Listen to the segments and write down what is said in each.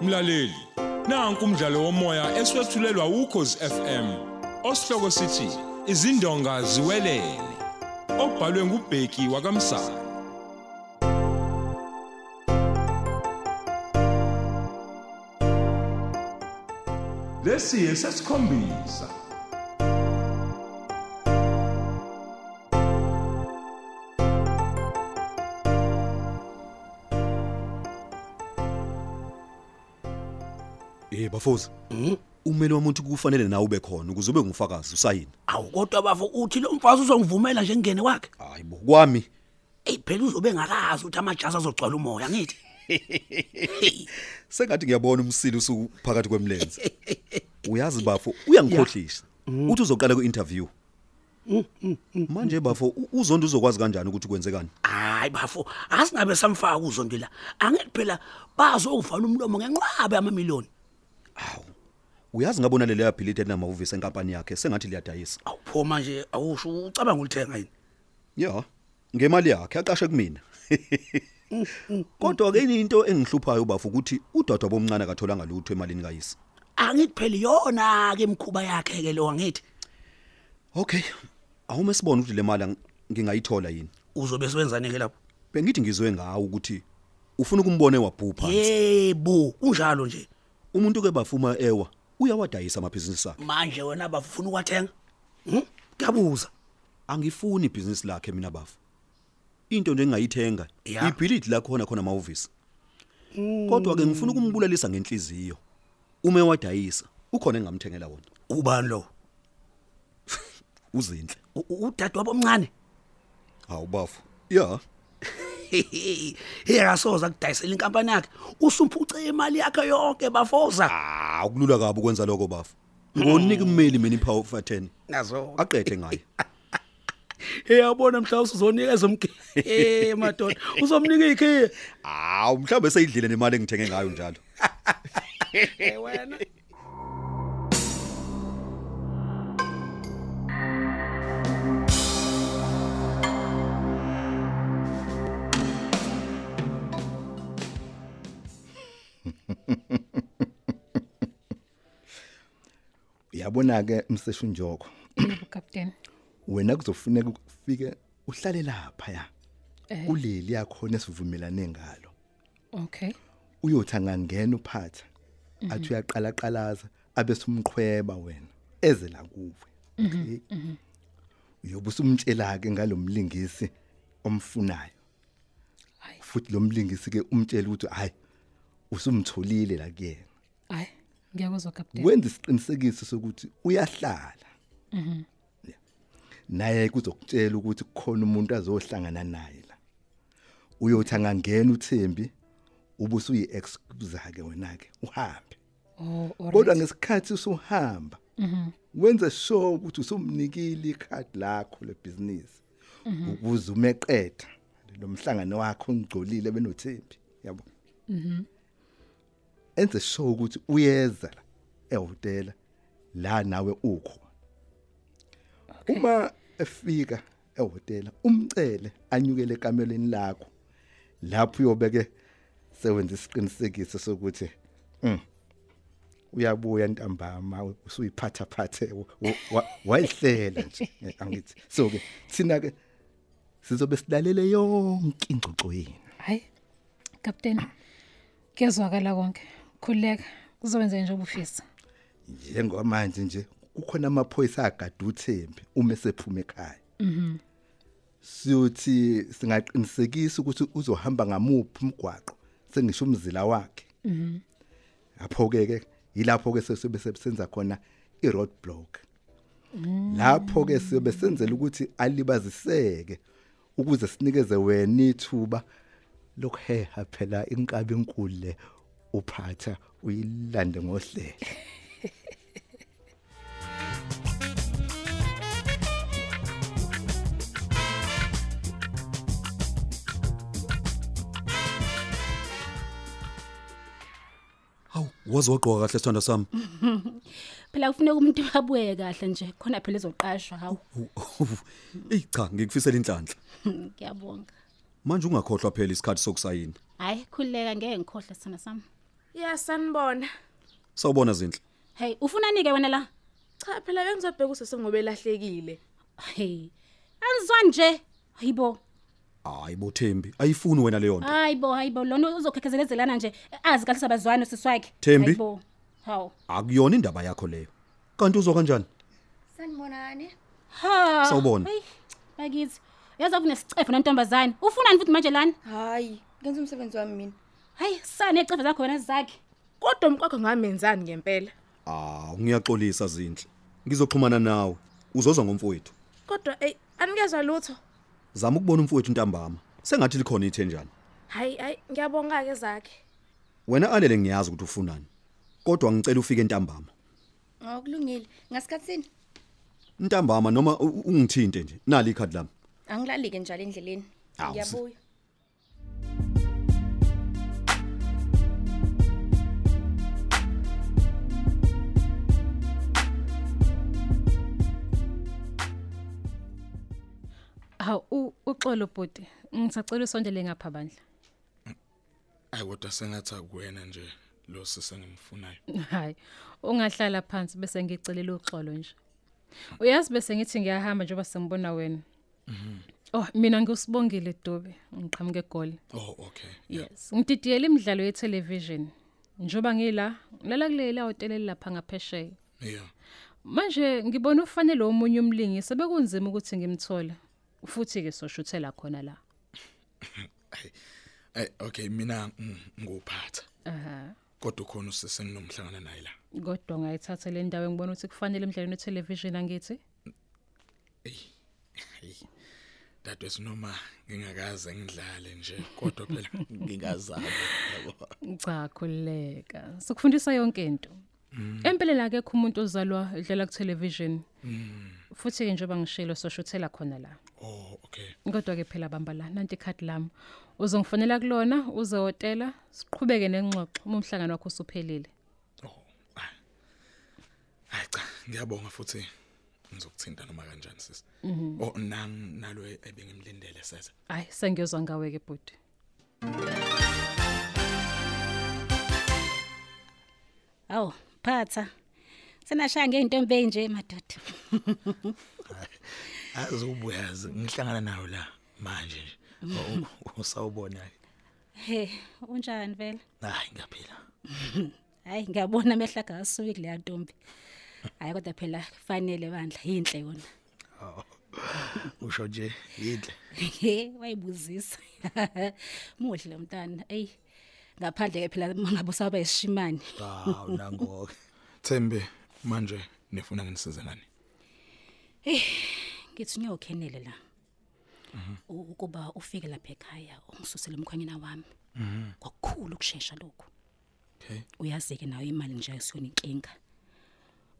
mlaleli nanku umdlalo womoya eswetshulelwa ukhozi FM osihloko sithi izindonga ziwelele obhalwe ngubheki wakamsana lesi esesikhombisa Eh bafoza. Ummeli womuntu kufanele nawe ube khona ukuze ube ngumfakazi usayini. awu kodwa bafo uthi lo mfazi uzongivumela nje ngene kwakhe Hayibo kwami. eyi phela uzobe engakazi ukuthi amajazi azogcwala umoya ngithi Sengathi ngiyabona umsili usuku phakathi kwemlenze. Uyazi bafo uyangikhohlisa. Uthi uzoqala ku-interview. Manje bafo u- uzondo uzokwazi kanjani ukuthi kwenze kani? hayi bafo asingabe samfaka uzondo la angithi phela bazokuvala umlomo ngenqaba yamamiliyoni Uyazi ngabona lele yabhilithe linamahhovisi enkampani yakhe sengathi liyadayisa. awu pho manje awusho ucabanga ulithenga yini Ya. Ngemali yakhe aqashe kumina. Kodwa ke into engihluphayo bafo ukuthi udadwa bomncane akatholanga lutho emalini kayise. angithi phela iyona-ke imikhuba yakhe-ke lo angithi Okay. Awume sibone ukuthi le mali ang- ngingayithola yini. uzobe sewenzani-ke lapho Bengithi ngizwe ngawo ukuthi ufuna ukumbone wabhupha. yebo kunjalo nje Umuntu ke bafuma ewa uyawadayisa amabhizinisi akhe. manje wena bafuna ukwathenga Hmm? kuyabuza Angifuni ibhizinisi lakhe mina bafu. Into nje engayithenga Ya. ibhilidi lakho khona khona amahhovisi. Kodwa ke ngifuna ukumbulalisa ngenhliziyo. Ume wadayisa ukhona engamthengela wona. ubani lo Uzinhle. U- u- udade wabo omncane Hawu bafu. Yeah. hey akasoza kudayisela inkampani yakhe usumphuce imali yakhe yonke bafoza Ah, ukulula kabi ukwenza lokho bafu. Ngonika immeli mina ipower of 10. nazo Aqede ngayo. eyabona mhla usuzonikeza umke eh madoda uzomnika ikhiye Hawu mhlawumbe seyidlile nemali engithenge ngayo njalo. wena Uyabona ke umseshu njoko. Yebo captain. Wena kuzofuneka ufike uhlale lapha ya. Eh. Kuleli yakho nesivumelane ngalo. Okay. Uyothanga ngena uphatha. Athi uyaqala qalaza abe sumqhweba wena eze la kuwe. Okay. Uyobusa umtshela ke ngalomlingisi omfunayo. Hayi. Futhi lo mlingisi ke umtshela ukuthi hayi usumtholile la kuyena. Hayi. Ngiyakuzwa captain. wenza isiqinisekiso sokuthi uyahlala mhm naye kuzokutshela ukuthi kukhona umuntu azohlangana naye la uyothi angangena uThembi ubusu yi-excuse ke wena ke uhambe Oh, kodwa alright. ngesikhathi usuhamba wenze sure ukuthi usumnikile ikhadi lakho lebusiness ukuze umeqeda lomhlangano wakho ngigcolile benothembi yabo enze sure ukuthi uyeza la ehotela la nawe ukho uma efika ehotela umcele anyukele ekamelweni lakho lapho uyobeke sewenza isiqinisekiso sokuthi mm uyabuya ntambama usuyiphathaphathe wa- wa- wayihlela nje eh, angithi so ke sina ke sizobe silalele yonke ingcoco yini Hayi. Captain. Ngiyazwakala konke. Khuleka. Kuzowenza nje ubufisa. njengoba manje nje kukhona amaphoyisa agada uThembi uma esephuma ekhaya mhm siyothi singaqinisekisa ukuthi uzohamba ngamuphi umgwaqo sengisho umzila wakhe mhm lapho ke ke yilapho ke sesibe sebenza khona i-road block Mm. lapho ke siyobe senzela ukuthi alibaziseke ukuze sinikeze wena ithuba lokuheha phela inkabi enkulu le uphatha uyilande ngohlelo Hawu wazi wagqoka kahle sithanda sami. phela kufuneka umuntu abuye kahle nje khona phela ezoqashwa hawu Ey cha ngikufisela inhlanhla. ngiyabonga Manje ungakhohlwa phela isikhathi sokusayina. hhayi khululeka ngeke ngikhohle sithanda sami ya sanibona sawubona zinhle hey ufunani ke wena la cha phela bengizobheka usese ngoba elahlekile hey anzwa nje hayibo hayi bo Thembi ayifuni wena leyo Ah, nto hayibo hayibo lona uzokhekhezelelana nje azi kahle sabazwana sisi wakhe Thembi? hayibo haw akuyona indaba yakho leyo kanti uzwa kanjani Sanibonani. ha Ah, Sawubona. Hey, bakithi yaza kunesicefo nentombazane ufunani futhi manje lana Hayi, ngenza umsebenzi wami mina. hayi sane ecefe zakho wena zakhe kodwa umqwakho ngamenzani ngempela ah ngiyaxolisa zinhle ngizoxhumana nawe uzozwa ngomfowethu kodwa ey anikezwa lutho zama ukubona umfowethu ntambama sengathi likhona ithenjana hayi hayi ngiyabonga ke zakhe wena alele ngiyazi ukuthi ufunani kodwa ngicela ufike ntambama Awukulungile. Ngasikhatsini ntambama noma u- u- ungithinte nje nali ikhadi lami angilalike njalo endleleni. Awu, Ngiyabuya. Haw uxolo bhuti, ngisacela usondele ngapha bandla. ayi kodwa sengathi akuwena nje lo sise ngimfunayo Hayi, ungahlala phansi bese ngicelela uxolo nje. Uyazi bese ngithi ngiyahamba njengoba sengibona wena. Oh, mina ngusibongile Dube, ngiqhamuke egoli. oh okay Yes, ngididiyela imidlalo ye-television. Njoba ngila, lala kulela hotel lapha ngaphesheya. yeah Manje ngibona ufanele omunye umlingisi bekunzima ukuthi ngimthole. Futhi ke soshuthela khona la. ay okay mina mm, nguphatha Aha. kodwa ukhona usise nginomhlangana naye la Kodwa ngayithatha le ndawo ngibona ukuthi kufanele emidlalweni ye-television angithi. dadwe sinoma ngingakaze ngidlale nje kodwa phela ngingazama yabo Cha khuleka. Sikufundisa yonke into. Empelela ke kumuntu ozalwa edlala ku television. Futhi ke njengoba ngishilo soshuthela khona la. oh okay Kodwa ke phela bamba la nanti card lami. Uzongifonela kulona uze hotela siqhubeke nengxoxo uma umhlangano wakho usuphelile. oh ah. hayi cha ngiyabonga futhi ngizokuthinta noma kanjani sisi oh nang nalo ebengimlindele sasa Hayi sengiyozwa ngawe ke bhuti. haw phatha senashaya ngeentombi enje madoda azobuya ngihlangana nayo la manje nje Oh, usawubona hey unjani vele hayi ngaphela hayi ngiyabona amehla akasuki kuleya ntombi hayi kodwa phela kufanele bandla yinhle yona usho nje yindle He, wayibuzisa. Muhle lo mntana. Ey. Ngaphandle ke phela ngabe usaba isishimane. hawu nangoke thembe manje nifuna nginisize ngani Ngithi nyokhenele la. U- Ukuba ufike lapha ekhaya ungisusele umkhwenyana wami. Kwakukhulu ukusheshsha lokho. okay Uyazi ke nayo imali nje ayisona inkinga.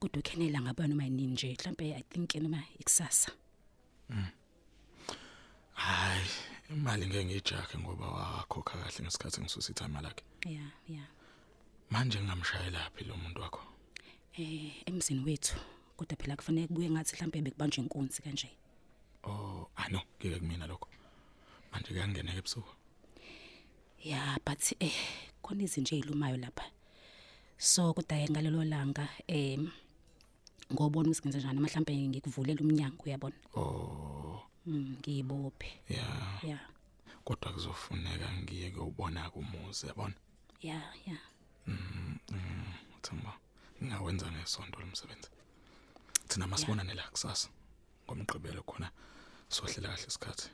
Kodwa ukhenela ngaba noma yini nje, mhlambe I think noma ikusasa. hayi imali ngeke ngiyijakhe ngoba wakhokha Oh, kahle ngesikhathi ngisusa ithayima lakhe Yeah, yeah. manje ngingamshayela phi lo muntu wakho Eh, emzini wethu. Kodwa phela kufanele kubuye ngathi mhlambe bekubanjwe inkunzi kanje. oh ano ngeke kumina lokho manje kuyangeneka ebusuku Yeah, but eh khona izinto ezilumayo lapha. So kodwa ke ngalelo langa eh ngobona ukuthi ngenze njani mhlawumbe ngikuvulela umnyango uyabona. oh Mm, ngiyibophe. ya Yeah. kodwa kuzofuneka ngiye kuyobona kumuzi yabona Yeah, yeah. Themba ngingawenza ngesonto lomsebenzi thina masibonane la kusasa ngomgqibelo khona sohlela kahle isikhathi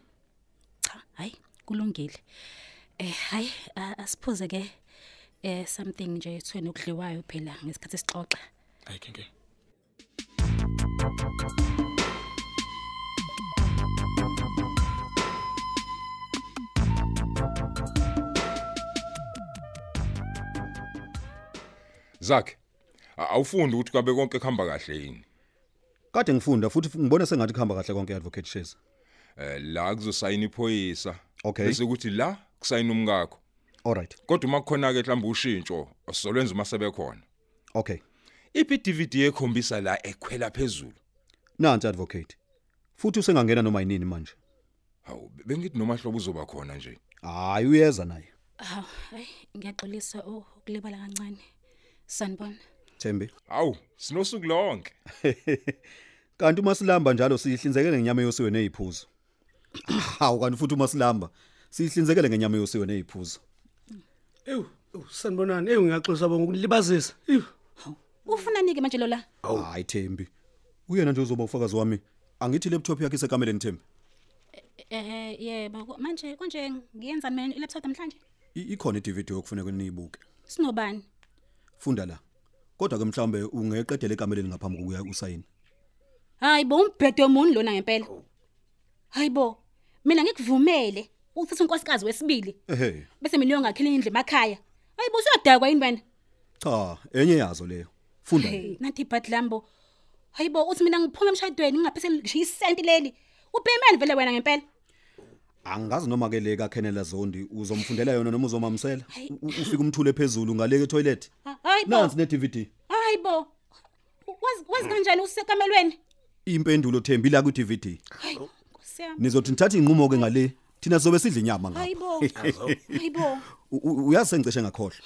Cha, hayi kulungile. Eh hayi a- asiphuze ke eh something nje ethweni okudliwayo phela ngesikhathi sixoxa. hayi kenke zakhe a- awufundi ukuthi kwabe konke kuhamba kahle yini kade ngifunda futhi ngibona sengathi kuhamba kahle konke advocate Sheza Eh, la kuzosayina iphoyisa Okay. bese kuthi la kusayina umkakho alright kodwa uma kukhona ke mhlawumbe ushintsho solwenza uma sebekhona okay iphi DVD ekhombisa la ekhwela phezulu nansi advocate futhi usengangena noma yinini manje hawu bengithi nomahlobo uzoba khona nje hayi uyeza naye Haw, hayi ngiyaxolisa oh, ukulibala kancane. Sanibona. Thembi. Hawu, sinosuku lonke. Kanti uma silamba njalo sihlinzekele ngenyama yosiwe neziphuzo. Hawu kanti futhi uma silamba sihlinzekele ngenyama yosiwe neziphuzo. Ewu, ewu, sanibonani. Ewu ngiyaxolisa bonke ukulibazisa. Ewu. Ufuna nike manje lola? Hayi Thembi. Uyena nje uzoba ufakazi wami. Angithi laptop yakhe isekameleni Thembi. Eh yebo, ko- manje konje ngiyenza mina i-laptop namhlanje. I- Ikhona i-DVD okufuneka niyibuke. Sinobani? Funda la. Kodwa ke mhlambe ungeqedele ekameleni ngaphambi kokuya usayini. Hayi bo umbhedo womuni lona ngempela. Hayi bo. Mina ngikuvumele uthathe unkosikazi wesibili Ehhe. bese mina uyongakhela indlu emakhaya. Hayi bo usuyadakwa yini wena? Cha, enye yazo leyo. Funda. la. Hey, nathi ibhatlambo. Hayi bo uthi mina ngiphuma emshadweni ngingapheseli ngisho isenti leli. Ubhemani vele wena ngempela. Angazi noma ke le ka Kenela Zondi uzomfundela yona noma uzomamsela. Hayi. U- u- Ufika umthule phezulu ngale ke toilet. Ha- Hayi bo. Nansi ne DVD. Hayi bo. Wazi wazi kanjani usekamelweni? Impendulo Thembi la ku DVD. Hayi Nkosi yami. Nizothi nithathe inqumo ke ngale. Thina sobe sidla inyama ngapha. Hayi bo. Hayi bo. U- u- Uyazi sengicishe ngakhohlwa.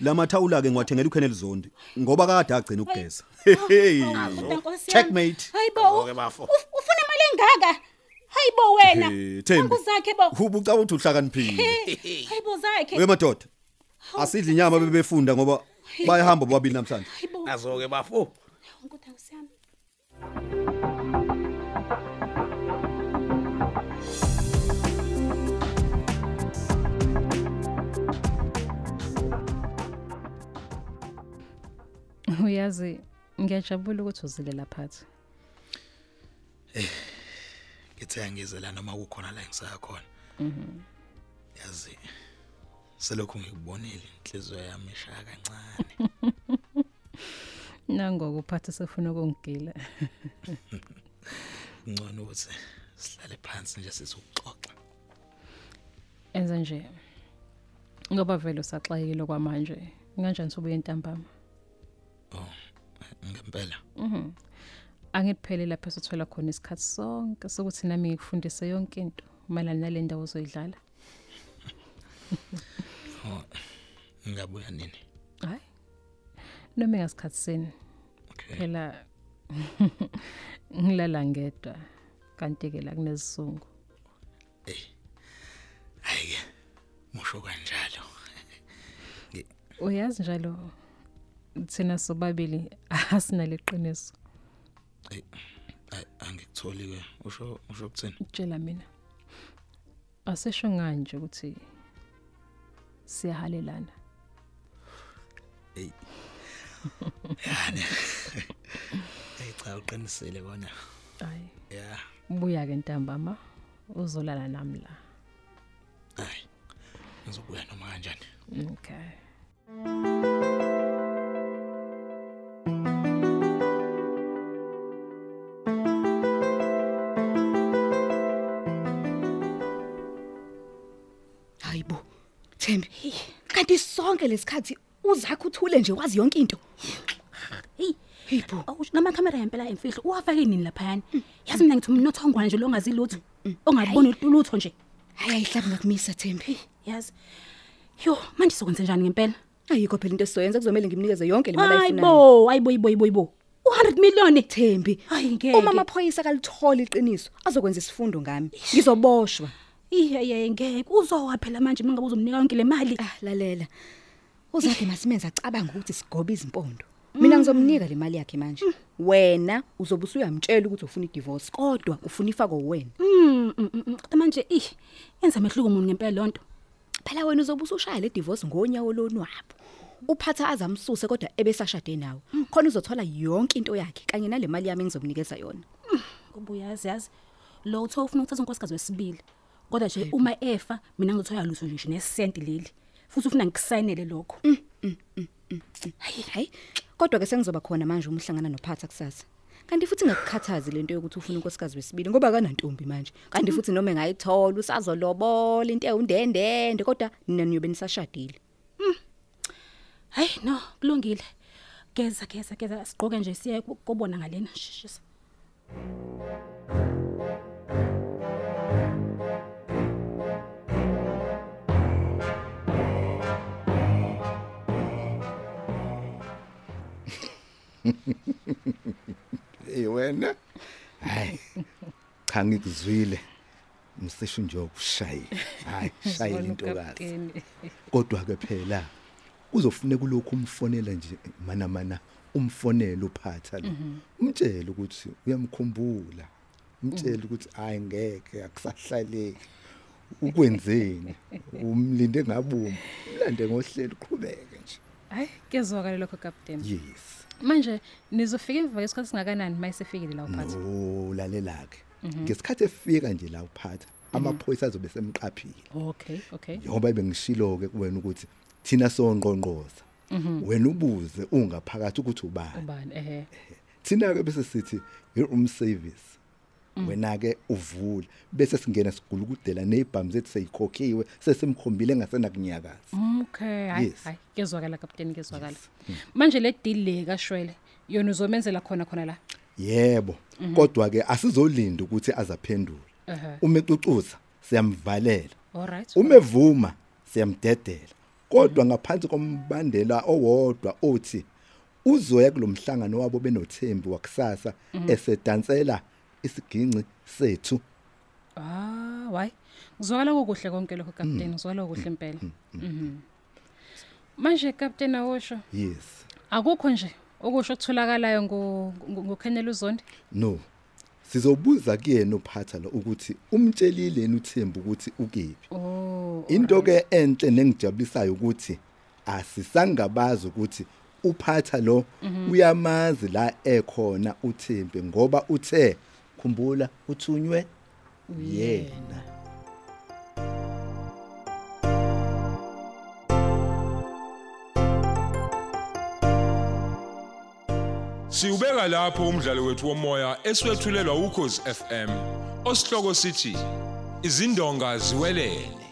Lamathawula ke ngiwathengele uKenel Zondi ngoba kade agcina ukugeza. Hey. Kodwa Nkosi yami. Checkmate. Hayi bo. Uf- Ufuna imali engaka? Hayi bo wena. Eh, Thembi. Uzakhe bo. Ubucaba ukuthi uhlakaniphile. Hayi bo zakhe. We madoda. Asidla inyama bebefunda ngoba bayahamba bobabili namhlanje. Hayi bo. Azoke bafo. Kodwa Nkosi yami. Uyazi ngiyajabula ukuthi uzile lapha. ngithe angize la noma kukhona la engisakhona yazi selokhu ngikubonile inhliziyo yami ishaya kancane Nangoku uphathe sefuna ukungigila. ngcono ukuthi sihlale phansi nje sizoxoxa Enza nje. Ngoba vele usaxayile kwamanje. Kanjani sobuye entambama? Oh, ngempela Angiphelele Mhm. lapho sothola khona isikhathi sonke sokuthi nami ngikufundise yonke into malana nalendawo ozoyidlala. Oh, ngingabuya nini Hayi. Noma ngasikhatsini okay phela ngilala ngedwa kanti ke la kunezizungu. hayike musho kanjalo Uyazi njalo thina sobabili asinale qiniso. Ayi, ayi, angikutholi ke usho usho ukuthini Tshela mina. Asesho kanje ukuthi siyahalelana. eyi cha uqinisele kona Hayi. ya Buya ke ntambama uzolala nami la. hayi ngizobuya noma kanjani Okay. Hayi bo. Thembi. Kanti sonke lesikhathi uzakhe uthule nje wazi yonke into. Hey. Hey bo. Awu namakhamera yempela emfihlo uwafake nini laphayana? Hmm. Yazi mina ngithi umnotho ongwana nje longazi lutho. Ongaboni lutho nje. Hayi ayihlabi ngakumisa Thembi. Yazi. Yo, manje sokwenze njani ngempela? Ayikho phela into esizoyenza kuzomela ngimnikeze yonke le mali ayifunayo. Hayibo, hayibo, hayibo, hayibo. U100 million. Thembi. Hayi ngeke. Uma amaphoyisa akalithola iqiniso azokwenza isifundo ngami. Ngizoboshwa. Iye ngeke uzowa phela manje mina ngabe uzomnika yonke le mali. Ah lalela. Uzakhe masimenza acabanga ukuthi sigobe izimpondo. Mina ngizomnika le mali yakhe manje. Wena uzobe usuyamtshela ukuthi ufuna idivorce kodwa ufuna ifako wena. Mm, mm, mm, mm. Kodwa manje ih enza mehluko muni ngempela lonto. phela wena uzobe usushaya le divorce ngonyawo lonwabo uphatha azamsuse kodwa ebesashade nawe khona uzothola yonke into yakhe kanye nalemali yami engizomnikeza yona Kubuya yazi yazi. Lo uthe ufuna ukuthatha unkosikazi wesibili. Kodwa nje uma efa mina ngithoya lutho nje nesenti leli. Futhi ufuna ngikusayinele lokho. hayi hayi kodwa ke sengizoba khona manje uma uhlangana nophatha kusasa kanti futhi ngakukhathazi lento yokuthi ufuna unkosikazi wesibili ngoba kanantombi manje kanti futhi noma engayithola usazolobola into ewundendende kodwa nina niyobe nisashadile Hayi no, kulungile. Geza geza geza sigqoke nje siye ku- kobona ngalena. Shishisa. hey Eh, wena hayi cha ngikuzwile msisho nje ukushaye hayi shaye Sibona intokazi ukapteni. kodwa ke phela kuzofuneka lokhu umfonela nje mana mana umfonela uphatha lo umtshele ukuthi uyamkhumbula umtshele ukuthi hayi ngeke akusahlaleki ukwenzeni umlinde ngabumbi mlande ngohlelo qhubeke nje Hayi, kezwakala lokho captain. yes Manje nizofika emva kwesikhathi singakanani mayisefikile la uphatha? olalelake "Oh, ngesikhathi efika nje la uphatha amaphoyisa azobe semqaphile Okay, okay. ngoba bengishilo ke kuwena ukuthi thina sonqonqoza wena ubuze ungaphakathi ukuthi ubani Ubani ehe. thina ke bese sithi i-room service wena ke uvule bese singena sigula ukudela nezibhamu zethu seyikhokhiwe sesimkhombile engasena kunyakaza Okay, hayi, Yes. hayi, kezwakala captain kezwakala. Manje le deal le kaShwele yona uzomenzela khona khona la. yebo kodwa ke asizolinda ukuthi azaphendula Ehe. uma ecucuza siyamvalela All right. uma evuma siyamdedela kodwa ngaphansi kombandela owodwa othi uzoya kulomhlangano wabo benothembi wakusasa esedansela isiginci sethu Ah, why? Ngizwakala kokuhle konke lokho captain, ngizwakala kokuhle impela. Mhm. Manje captain awosho yes akukho nje okusho okutholakalayo ngo- ngo- ngokhenela uzondi. no sizobuza kuyena uphatha lo ukuthi umtshelile yena uthembi ukuthi ukephi Oh. into ke enhle nengijabulisayo ukuthi asisangabazi ukuthi uphatha lo uyamazi la ekhona uThembi ngoba uthe khumbula uthunywe yena Siyubeka lapho umdlalo wethu womoya eswetshulelwa ukhozi FM. Osihloko sithi izindonga ziwelele.